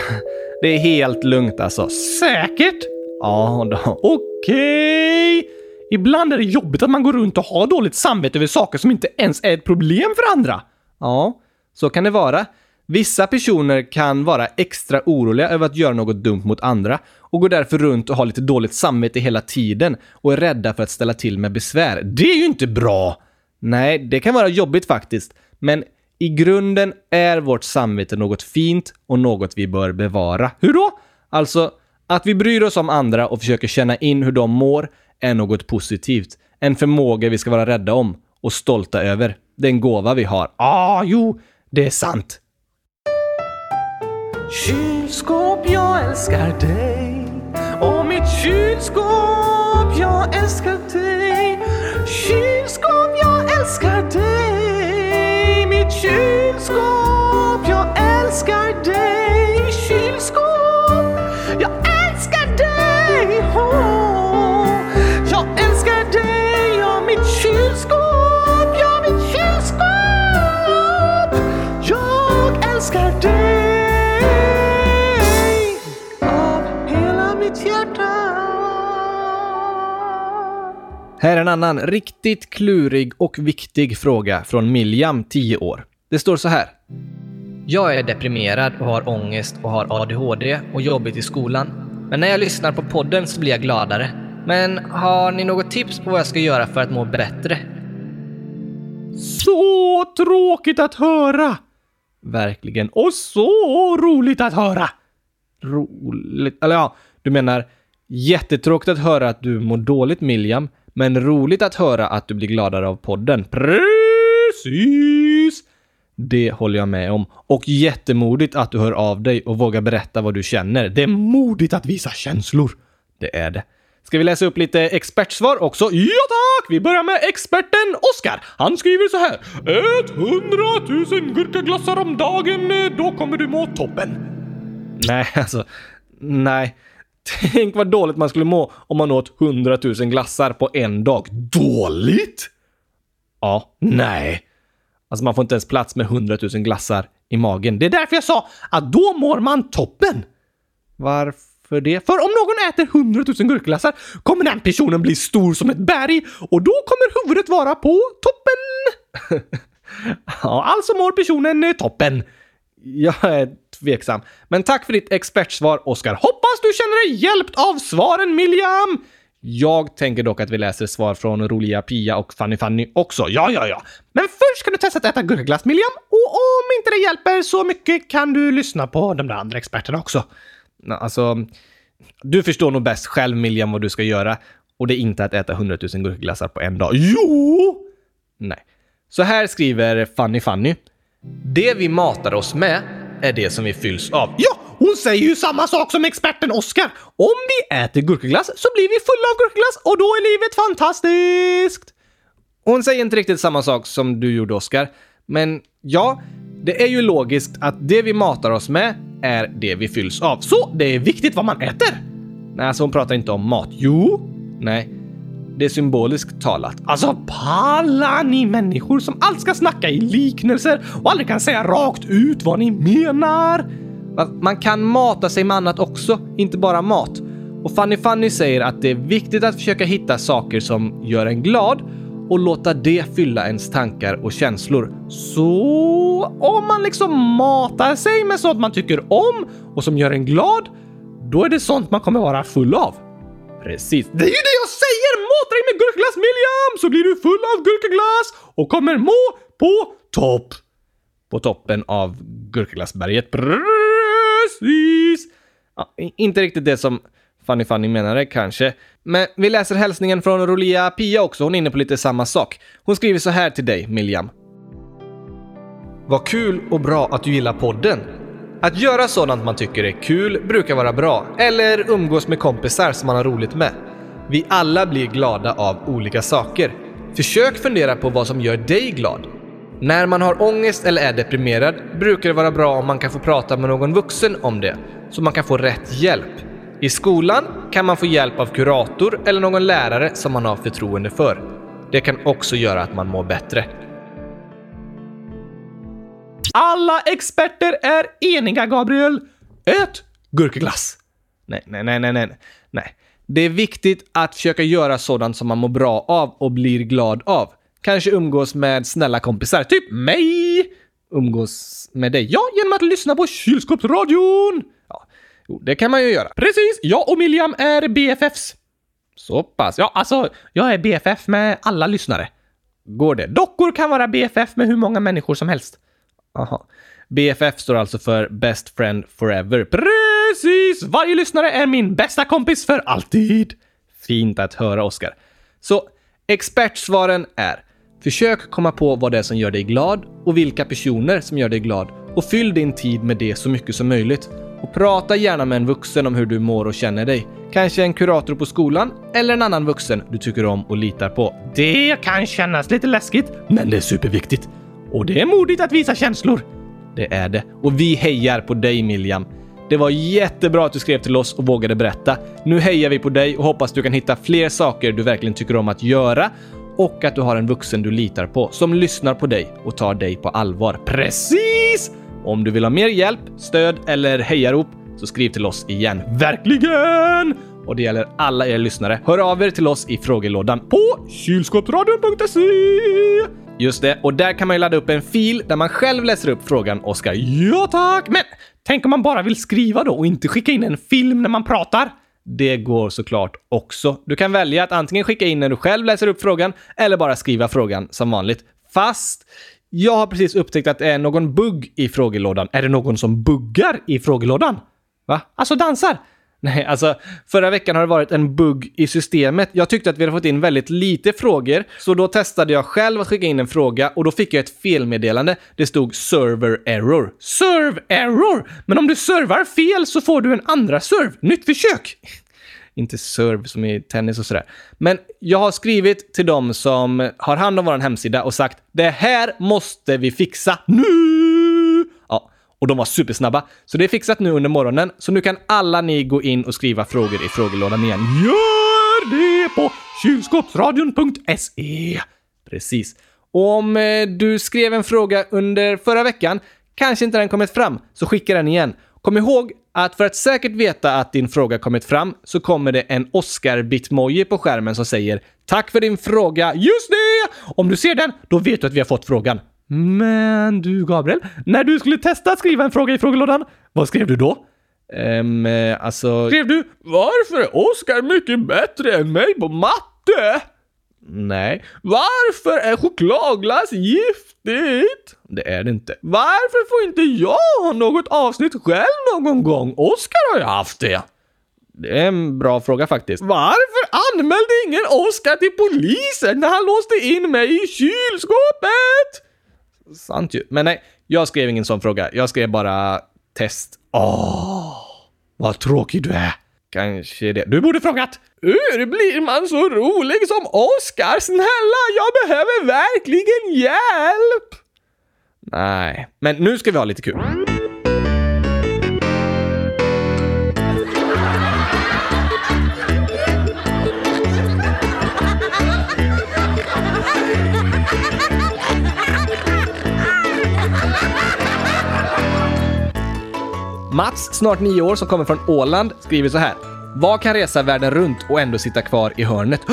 S2: Det är helt lugnt alltså.
S1: Säkert?
S2: Ja, då.
S1: Okej. Ibland är det jobbigt att man går runt och har dåligt samvete över saker som inte ens är ett problem för andra.
S2: Ja, så kan det vara. Vissa personer kan vara extra oroliga över att göra något dumt mot andra och går därför runt och har lite dåligt samvete hela tiden och är rädda för att ställa till med besvär. Det är ju inte bra! Nej, det kan vara jobbigt faktiskt, men i grunden är vårt samvete något fint och något vi bör bevara. Hur då? Alltså, att vi bryr oss om andra och försöker känna in hur de mår är något positivt. En förmåga vi ska vara rädda om och stolta över. Det är en gåva vi har.
S1: Ah, jo, det är sant.
S4: Kylskåp, jag älskar dig. Och mitt kylskåp, jag älskar dig. Kylskåp, jag älskar dig. Mitt kylskåp, jag älskar dig. Kylskåp, jag älskar dig. Åh, Jag älskar dig, ja mitt kylskåp, ja mitt kylskåp. Jag älskar dig av hela mitt hjärta.
S2: Här är en annan riktigt klurig och viktig fråga från Miljam, 10 år. Det står så här.
S3: Jag är deprimerad och har ångest och har ADHD och jobbigt i skolan. Men när jag lyssnar på podden så blir jag gladare. Men har ni något tips på vad jag ska göra för att må bättre?
S1: Så tråkigt att höra!
S2: Verkligen
S1: Och så roligt att höra!
S2: roligt. Eller ja, du menar jättetråkigt att höra att du mår dåligt Miljam, men roligt att höra att du blir gladare av podden. Precis! Det håller jag med om. Och jättemodigt att du hör av dig och vågar berätta vad du känner. Det är modigt att visa känslor. Det är det. Ska vi läsa upp lite expertsvar också? Ja tack! Vi börjar med experten Oskar. Han skriver så här.
S1: 100 000 gurkaglassar om dagen, eh, då kommer du må toppen.
S2: Nej, [LAUGHS] alltså. Nej. Tänk vad dåligt man skulle må om man åt 100 000 glassar på en dag. Dåligt? Ja. Nej. Alltså man får inte ens plats med 100 000 glassar i magen. Det är därför jag sa att då mår man toppen. Varför det? För om någon äter 100 000 gurkglassar kommer den personen bli stor som ett berg och då kommer huvudet vara på toppen. [LAUGHS] ja, alltså mår personen eh, toppen. Jag är tveksam. Men tack för ditt expertsvar, Oskar. Hoppas du känner dig hjälpt av svaren, Miljam! Jag tänker dock att vi läser svar från Roliga Pia och Fanny Fanny också. Ja, ja, ja. Men först kan du testa att äta gurkaglass, Miljam. Och om inte det hjälper så mycket kan du lyssna på de där andra experterna också. Nå, Alltså, du förstår nog bäst själv, Miljam, vad du ska göra. Och det är inte att äta 100 000 gurkaglassar på en dag. Jo! Nej. Så här skriver Fanny Fanny.
S3: Det vi matar oss med är det som vi fylls av.
S2: Ja, hon säger ju samma sak som experten Oskar. Om vi äter gurkaglass så blir vi fulla av gurkaglass och då är livet fantastiskt. Hon säger inte riktigt samma sak som du gjorde Oskar, men ja, det är ju logiskt att det vi matar oss med är det vi fylls av. Så det är viktigt vad man äter. Nej, alltså hon pratar inte om mat. Jo. Nej. Det är symboliskt talat.
S1: Alltså pallar ni människor som allt ska snacka i liknelser och aldrig kan säga rakt ut vad ni menar?
S2: Va- Man kan mata sig med annat också, inte bara mat. Och Fanny Fanny säger att det är viktigt att försöka hitta saker som gör en glad och låta det fylla ens tankar och känslor. Så om man liksom matar sig med sånt man tycker om och som gör en glad, då är det sånt man kommer vara full av. Precis. Det är ju det jag säger! Mata dig med gurkaglass William så blir du full av gurkaglass och kommer må på topp på toppen av Gurkaglassberget. Precis! Ja, i- inte riktigt det som Fanny Fanny menade kanske. Men vi läser hälsningen från Rolia Pia också. Hon är inne på lite samma sak. Hon skriver så här till dig, Miljam. Vad kul och bra att du gillar podden. Att göra sådant man tycker är kul brukar vara bra, eller umgås med kompisar som man har roligt med. Vi alla blir glada av olika saker. Försök fundera på vad som gör dig glad. När man har ångest eller är deprimerad brukar det vara bra om man kan få prata med någon vuxen om det, så man kan få rätt hjälp. I skolan kan man få hjälp av kurator eller någon lärare som man har förtroende för. Det kan också göra att man mår bättre.
S1: Alla experter är eniga, Gabriel. Ät gurkaglass!
S2: Nej, nej, nej, nej, nej. nej. Det är viktigt att försöka göra sådant som man mår bra av och blir glad av. Kanske umgås med snälla kompisar, typ mig. Umgås med dig? Ja, genom att lyssna på Kylskåpsradion! Ja, jo, det kan man ju göra.
S1: Precis, jag och Miljam är BFFs.
S2: Så pass. Ja,
S1: Alltså, jag är BFF med alla lyssnare.
S2: går det.
S1: Dockor kan vara BFF med hur många människor som helst.
S2: Aha. BFF står alltså för Best Friend Forever.
S1: Precis! Varje lyssnare är min bästa kompis för alltid.
S2: Fint att höra, Oskar. Så expertsvaren är Försök komma på vad det är som gör dig glad och vilka personer som gör dig glad och fyll din tid med det så mycket som möjligt. Och prata gärna med en vuxen om hur du mår och känner dig. Kanske en kurator på skolan eller en annan vuxen du tycker om och litar på.
S1: Det kan kännas lite läskigt, men det är superviktigt. Och det är modigt att visa känslor.
S2: Det är det. Och vi hejar på dig Miljam. Det var jättebra att du skrev till oss och vågade berätta. Nu hejar vi på dig och hoppas du kan hitta fler saker du verkligen tycker om att göra och att du har en vuxen du litar på som lyssnar på dig och tar dig på allvar. Precis! Om du vill ha mer hjälp, stöd eller hejarop så skriv till oss igen. Verkligen! Och det gäller alla er lyssnare. Hör av er till oss i frågelådan på
S1: Kylskåpsradion.se
S2: Just det, och där kan man ju ladda upp en fil där man själv läser upp frågan Oskar. Ja tack! Men
S1: Men tänk om man bara vill skriva då och inte skicka in en film när man pratar?
S2: det går såklart också. Du kan välja att antingen skicka in när du själv läser upp frågan eller bara skriva frågan som vanligt. Fast jag har precis upptäckt att det är någon bugg i frågelådan. Är det någon som buggar i frågelådan? Va? Alltså dansar? Nej, alltså förra veckan har det varit en bugg i systemet. Jag tyckte att vi hade fått in väldigt lite frågor, så då testade jag själv att skicka in en fråga och då fick jag ett felmeddelande. Det stod “server error”.
S1: Serve error! Men om du servar fel så får du en andra serve. Nytt försök!
S2: inte serve som i tennis och sådär. Men jag har skrivit till dem som har hand om vår hemsida och sagt det här måste vi fixa nu! Ja, Och de var supersnabba. Så det är fixat nu under morgonen, så nu kan alla ni gå in och skriva frågor i frågelådan igen.
S1: Gör det på kylskåpsradion.se.
S2: E. Precis. Och om eh, du skrev en fråga under förra veckan, kanske inte den kommit fram, så skicka den igen. Kom ihåg att för att säkert veta att din fråga kommit fram så kommer det en Oscar-bitmoji på skärmen som säger “Tack för din fråga, just det!” Om du ser den, då vet du att vi har fått frågan. Men du Gabriel, när du skulle testa att skriva en fråga i frågelådan, vad skrev du då? Ehm, eh, alltså...
S1: Skrev du “Varför är Oskar mycket bättre än mig på matte?”
S2: Nej,
S1: Varför är chokladglass giftigt?
S2: det är det inte.
S1: Varför får inte jag ha något avsnitt själv någon gång? Oskar har ju haft det.
S2: Det är en bra fråga faktiskt.
S1: Varför anmälde ingen Oskar till polisen när han låste in mig i kylskåpet?
S2: Sant ju. Men nej, jag skrev ingen sån fråga. Jag skrev bara test.
S1: Vad tråkig du är.
S2: Kanske det. Du borde frågat!
S1: Hur blir man så rolig som Oskar? Snälla, jag behöver verkligen hjälp!
S2: Nej, men nu ska vi ha lite kul. Mats, snart nio år, som kommer från Åland, skriver så här. Vad kan resa världen runt och ändå sitta kvar i hörnet? [GASPS]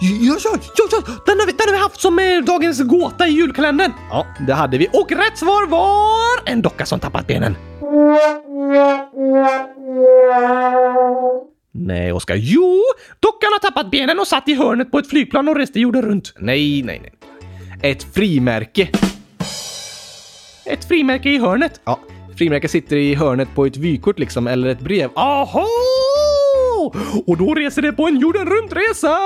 S1: Ja, ja, ja, ja. Den, har vi, den har vi haft som eh, dagens gåta i julkalendern.
S2: Ja, det hade vi.
S1: Och rätt svar var en docka som tappat benen.
S2: Nej, Oskar.
S1: Jo, dockan har tappat benen och satt i hörnet på ett flygplan och reste jorden runt.
S2: Nej, nej, nej. Ett frimärke.
S1: Ett frimärke i hörnet.
S2: Ja, frimärke sitter i hörnet på ett vykort liksom, eller ett brev.
S1: Aha! Och då reser det på en jorden runt-resa!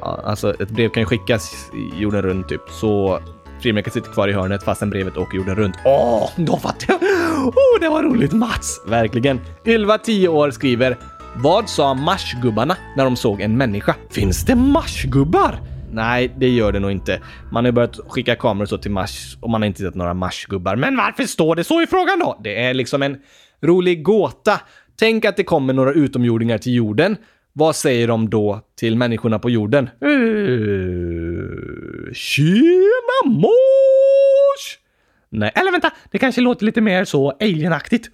S2: Ja, alltså ett brev kan ju skickas i jorden runt typ, så frimärket sitter kvar i hörnet fastän brevet åker jorden runt.
S1: Åh, då fattar jag. Oh, det var roligt Mats!
S2: Verkligen. Ylva, 10 år, skriver Vad sa marsgubbarna när de såg en människa?
S1: Finns det marsgubbar?
S2: Nej, det gör det nog inte. Man har ju börjat skicka kameror så till Mars och man har inte sett några Marsgubbar. Men
S1: Men varför står det så i frågan då?
S2: det är liksom en rolig gåta. Tänk att det kommer några utomjordingar till jorden. Vad säger de då till människorna på jorden? Eh,
S1: Uh, tjena mors!
S2: Nej,
S1: Eller vänta, det kanske låter lite mer så alienaktigt.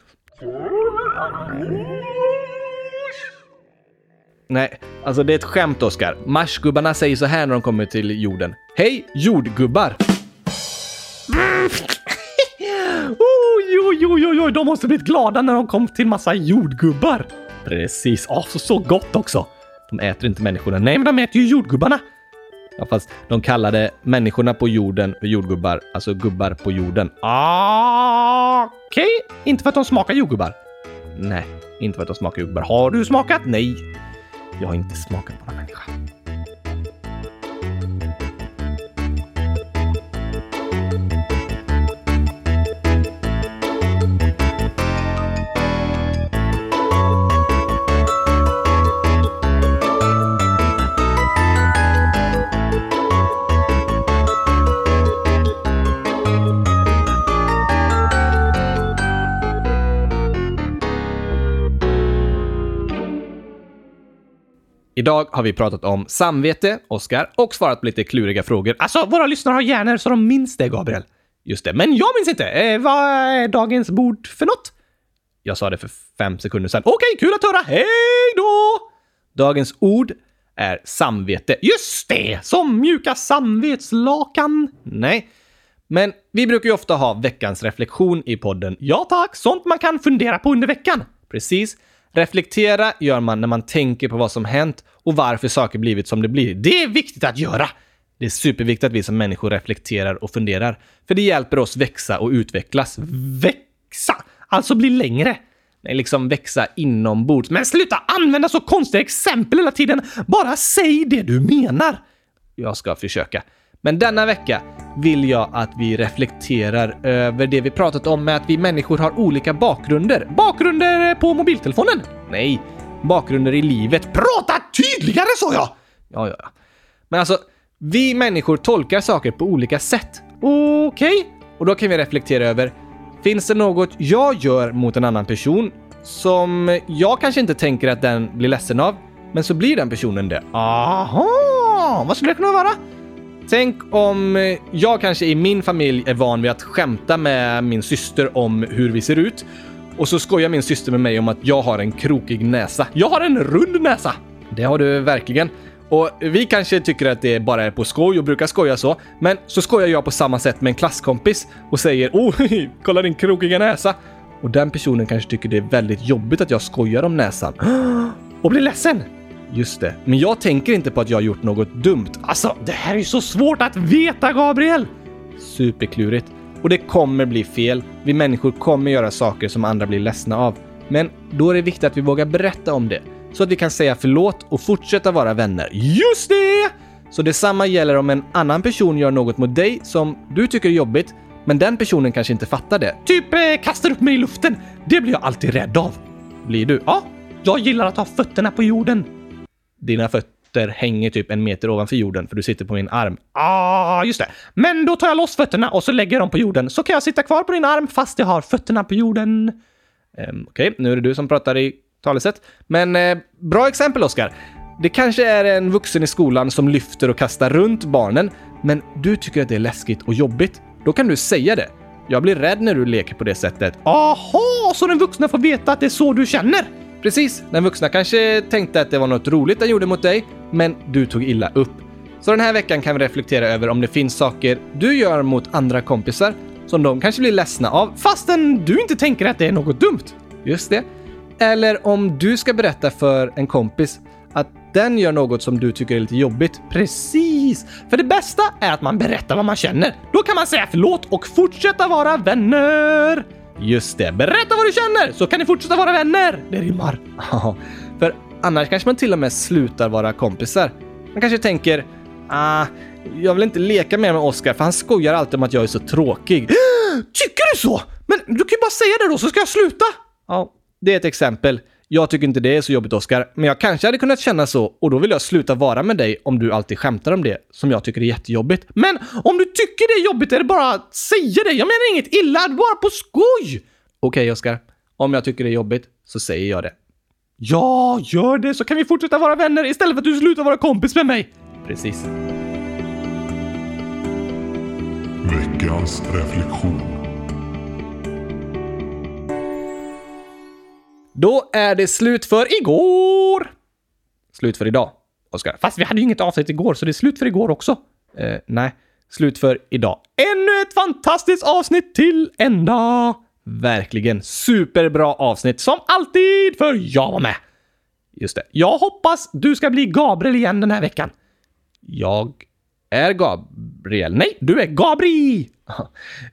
S2: Nej, alltså det är ett skämt Oskar. Marsgubbarna säger så här när de kommer till jorden. Hej
S1: [LAUGHS]
S2: jordgubbar!
S1: Oh, jo, jo, jo, jo, de måste blivit glada när de kom till massa jordgubbar.
S2: Precis,
S1: Ja, så, så gott också.
S2: de äter inte människorna. Nej,
S1: Nej, men de äter ju jordgubbarna.
S2: ja, fast de kallade människorna på jorden för jordgubbar, alltså gubbar på jorden.
S1: Ah, Okej, inte för att de smakar jordgubbar.
S2: Nej, inte för att de smakar jordgubbar. Har
S1: Har du smakat?
S2: Nej, jag har inte smakat på någon människa. Idag har vi pratat om samvete, Oskar, och svarat på lite kluriga frågor. Ah,
S1: Alltså, våra lyssnare har hjärnor så de minns det, Gabriel.
S2: Just det, men jag minns inte! Eh,
S1: Vad är dagens bord för något?
S2: Jag sa det för fem sekunder sedan.
S1: Okej, kul att höra. Hej då!
S2: Dagens ord är samvete.
S1: Just det! Som mjuka samvetslakan.
S2: Nej. Men vi brukar ju ofta ha veckans reflektion i podden.
S1: Ja tack, sånt man kan fundera på under veckan.
S2: Precis. Reflektera gör man när man tänker på vad som hänt och varför saker blivit som det blir.
S1: Det är viktigt att göra.
S2: Det är superviktigt att vi som människor reflekterar och funderar, för det hjälper oss växa och utvecklas.
S1: Växa, alltså bli längre.
S2: Nej, liksom växa inombords. Men
S1: Men sluta använda så konstiga exempel hela tiden. Bara säg det du menar.
S2: jag ska försöka. Men denna vecka vill jag att vi reflekterar över det vi pratat om med att vi människor har olika bakgrunder.
S1: Bakgrunder på mobiltelefonen.
S2: Nej, bakgrunder i livet.
S1: Prata tydligare sa jag!
S2: Ja, ja, ja. Men alltså, vi människor tolkar saker på olika sätt.
S1: Okej.
S2: Och då kan vi reflektera över Finns det något jag gör mot en annan person som jag kanske inte tänker att den blir ledsen av, men så blir den personen det? Aha! Vad skulle det kunna vara? Tänk om eh, jag kanske i min familj är van vid att skämta med min syster om hur vi ser ut och så skojar min syster med mig om att jag har en krokig näsa. Jag har en rund näsa! Det har du verkligen. Och vi kanske tycker att det bara är på skoj och brukar skoja så, men så skojar jag på samma sätt med en klasskompis och säger “Oh, [LAUGHS] kolla din krokiga näsa!” och den personen kanske tycker det är väldigt jobbigt att jag skojar om näsan och blir ledsen. Just det. Men jag tänker inte på att jag har gjort något dumt. Alltså, det här är ju så svårt att veta, Gabriel! Superklurigt. Och det kommer bli fel. Vi människor kommer göra saker som andra blir ledsna av. Men då är det viktigt att vi vågar berätta om det. Så att vi kan säga förlåt och fortsätta vara vänner. Just det! Så detsamma gäller om en annan person gör något mot dig som du tycker är jobbigt, men den personen kanske inte fattar det. Typ eh, kastar upp mig i luften. Det blir jag alltid rädd av. Blir du? Ja. Jag gillar att ha fötterna på jorden. Dina fötter hänger typ en meter ovanför jorden för du sitter på min arm. Ah, just det. Men då tar jag loss fötterna och så lägger jag dem på jorden. Så kan jag sitta kvar på din arm fast jag har fötterna på jorden. Ehm, Okej, nu är det du som pratar i talesätt. Men eh, bra exempel, Oskar. Det kanske är en vuxen i skolan som lyfter och kastar runt barnen, men du tycker att det är läskigt och jobbigt. Då kan du säga det. Jag blir rädd när du leker på det sättet. Aha, så den vuxna får veta att det är så du känner? Precis, den vuxna kanske tänkte att det var något roligt den gjorde mot dig, men du tog illa upp. Så den här veckan kan vi reflektera över om det finns saker du gör mot andra kompisar som de kanske blir ledsna av fastän du inte tänker att det är något dumt. Just det. Eller om du ska berätta för en kompis att den gör något som du tycker är lite jobbigt. Precis! För det bästa är att man berättar vad man känner. Då kan man säga förlåt och fortsätta vara vänner. Just det, berätta vad du känner så kan ni fortsätta vara vänner. Det rimmar. [LAUGHS] Ja, för annars kanske man till och med slutar vara kompisar. Man kanske tänker ah, jag vill inte leka mer med Oscar för han skojar alltid om att jag är så tråkig. [GASPS] Tycker du så? Men du kan ju bara säga det då så ska jag sluta. Ja, det är ett exempel. Jag tycker inte det är så jobbigt Oscar, men jag kanske hade kunnat känna så och då vill jag sluta vara med dig om du alltid skämtar om det som jag tycker är jättejobbigt. Men om du tycker det är jobbigt är det bara att säga det. Jag menar inget illa, det är bara på skoj. Okej Oscar, om jag tycker det är jobbigt så säger jag det. Ja, gör det så kan vi fortsätta vara vänner istället för att du slutar vara kompis med mig. Precis.
S5: Veckans reflektion.
S2: Då är det slut för igår! Slut för idag, Oskar. Fast vi hade ju inget avsnitt igår, så det är slut för igår också. Eh, nej, slut för idag. Ännu ett fantastiskt avsnitt till ända! Verkligen superbra avsnitt, som alltid, för jag var med. Just det. Jag hoppas du ska bli Gabriel igen den här veckan. Jag är Gabriel. Nej, du är Gabri! [LAUGHS]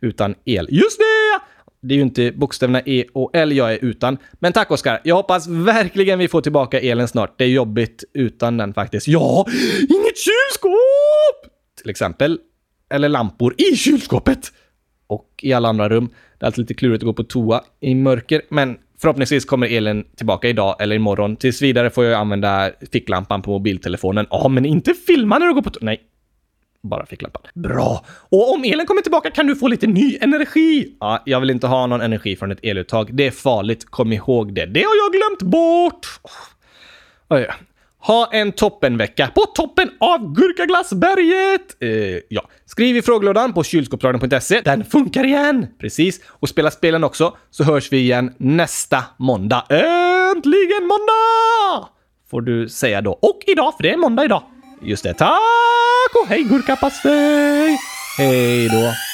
S2: Utan el. Just det! Det är ju inte bokstäverna E och L jag är utan. Men tack Oskar. Jag hoppas verkligen vi får tillbaka elen snart. Det är jobbigt utan den faktiskt. Ja, inget kylskåp! Till exempel. Eller lampor i kylskåpet. Och i alla andra rum. Det är alltid lite klurigt att gå på toa i mörker, men förhoppningsvis kommer elen tillbaka idag eller imorgon. Tills vidare får jag ju använda ficklampan på mobiltelefonen. Ja, men inte filma när du går på toa. Nej, bara ficklampan. Bra! Och om elen kommer tillbaka kan du få lite ny energi! Ja, jag vill inte ha någon energi från ett eluttag. Det är farligt, kom ihåg det. Det har jag glömt bort! Oj. Ha en toppenvecka på toppen av Gurkaglassberget! Eh, ja. Skriv i frågelådan på kylskåpsradion.se. Den funkar igen! Precis. Och spela spelen också, så hörs vi igen nästa måndag. Äntligen måndag! Får du säga då. Och idag, för det är måndag idag. Just det. Tack och hej gurkapastej! Hej då!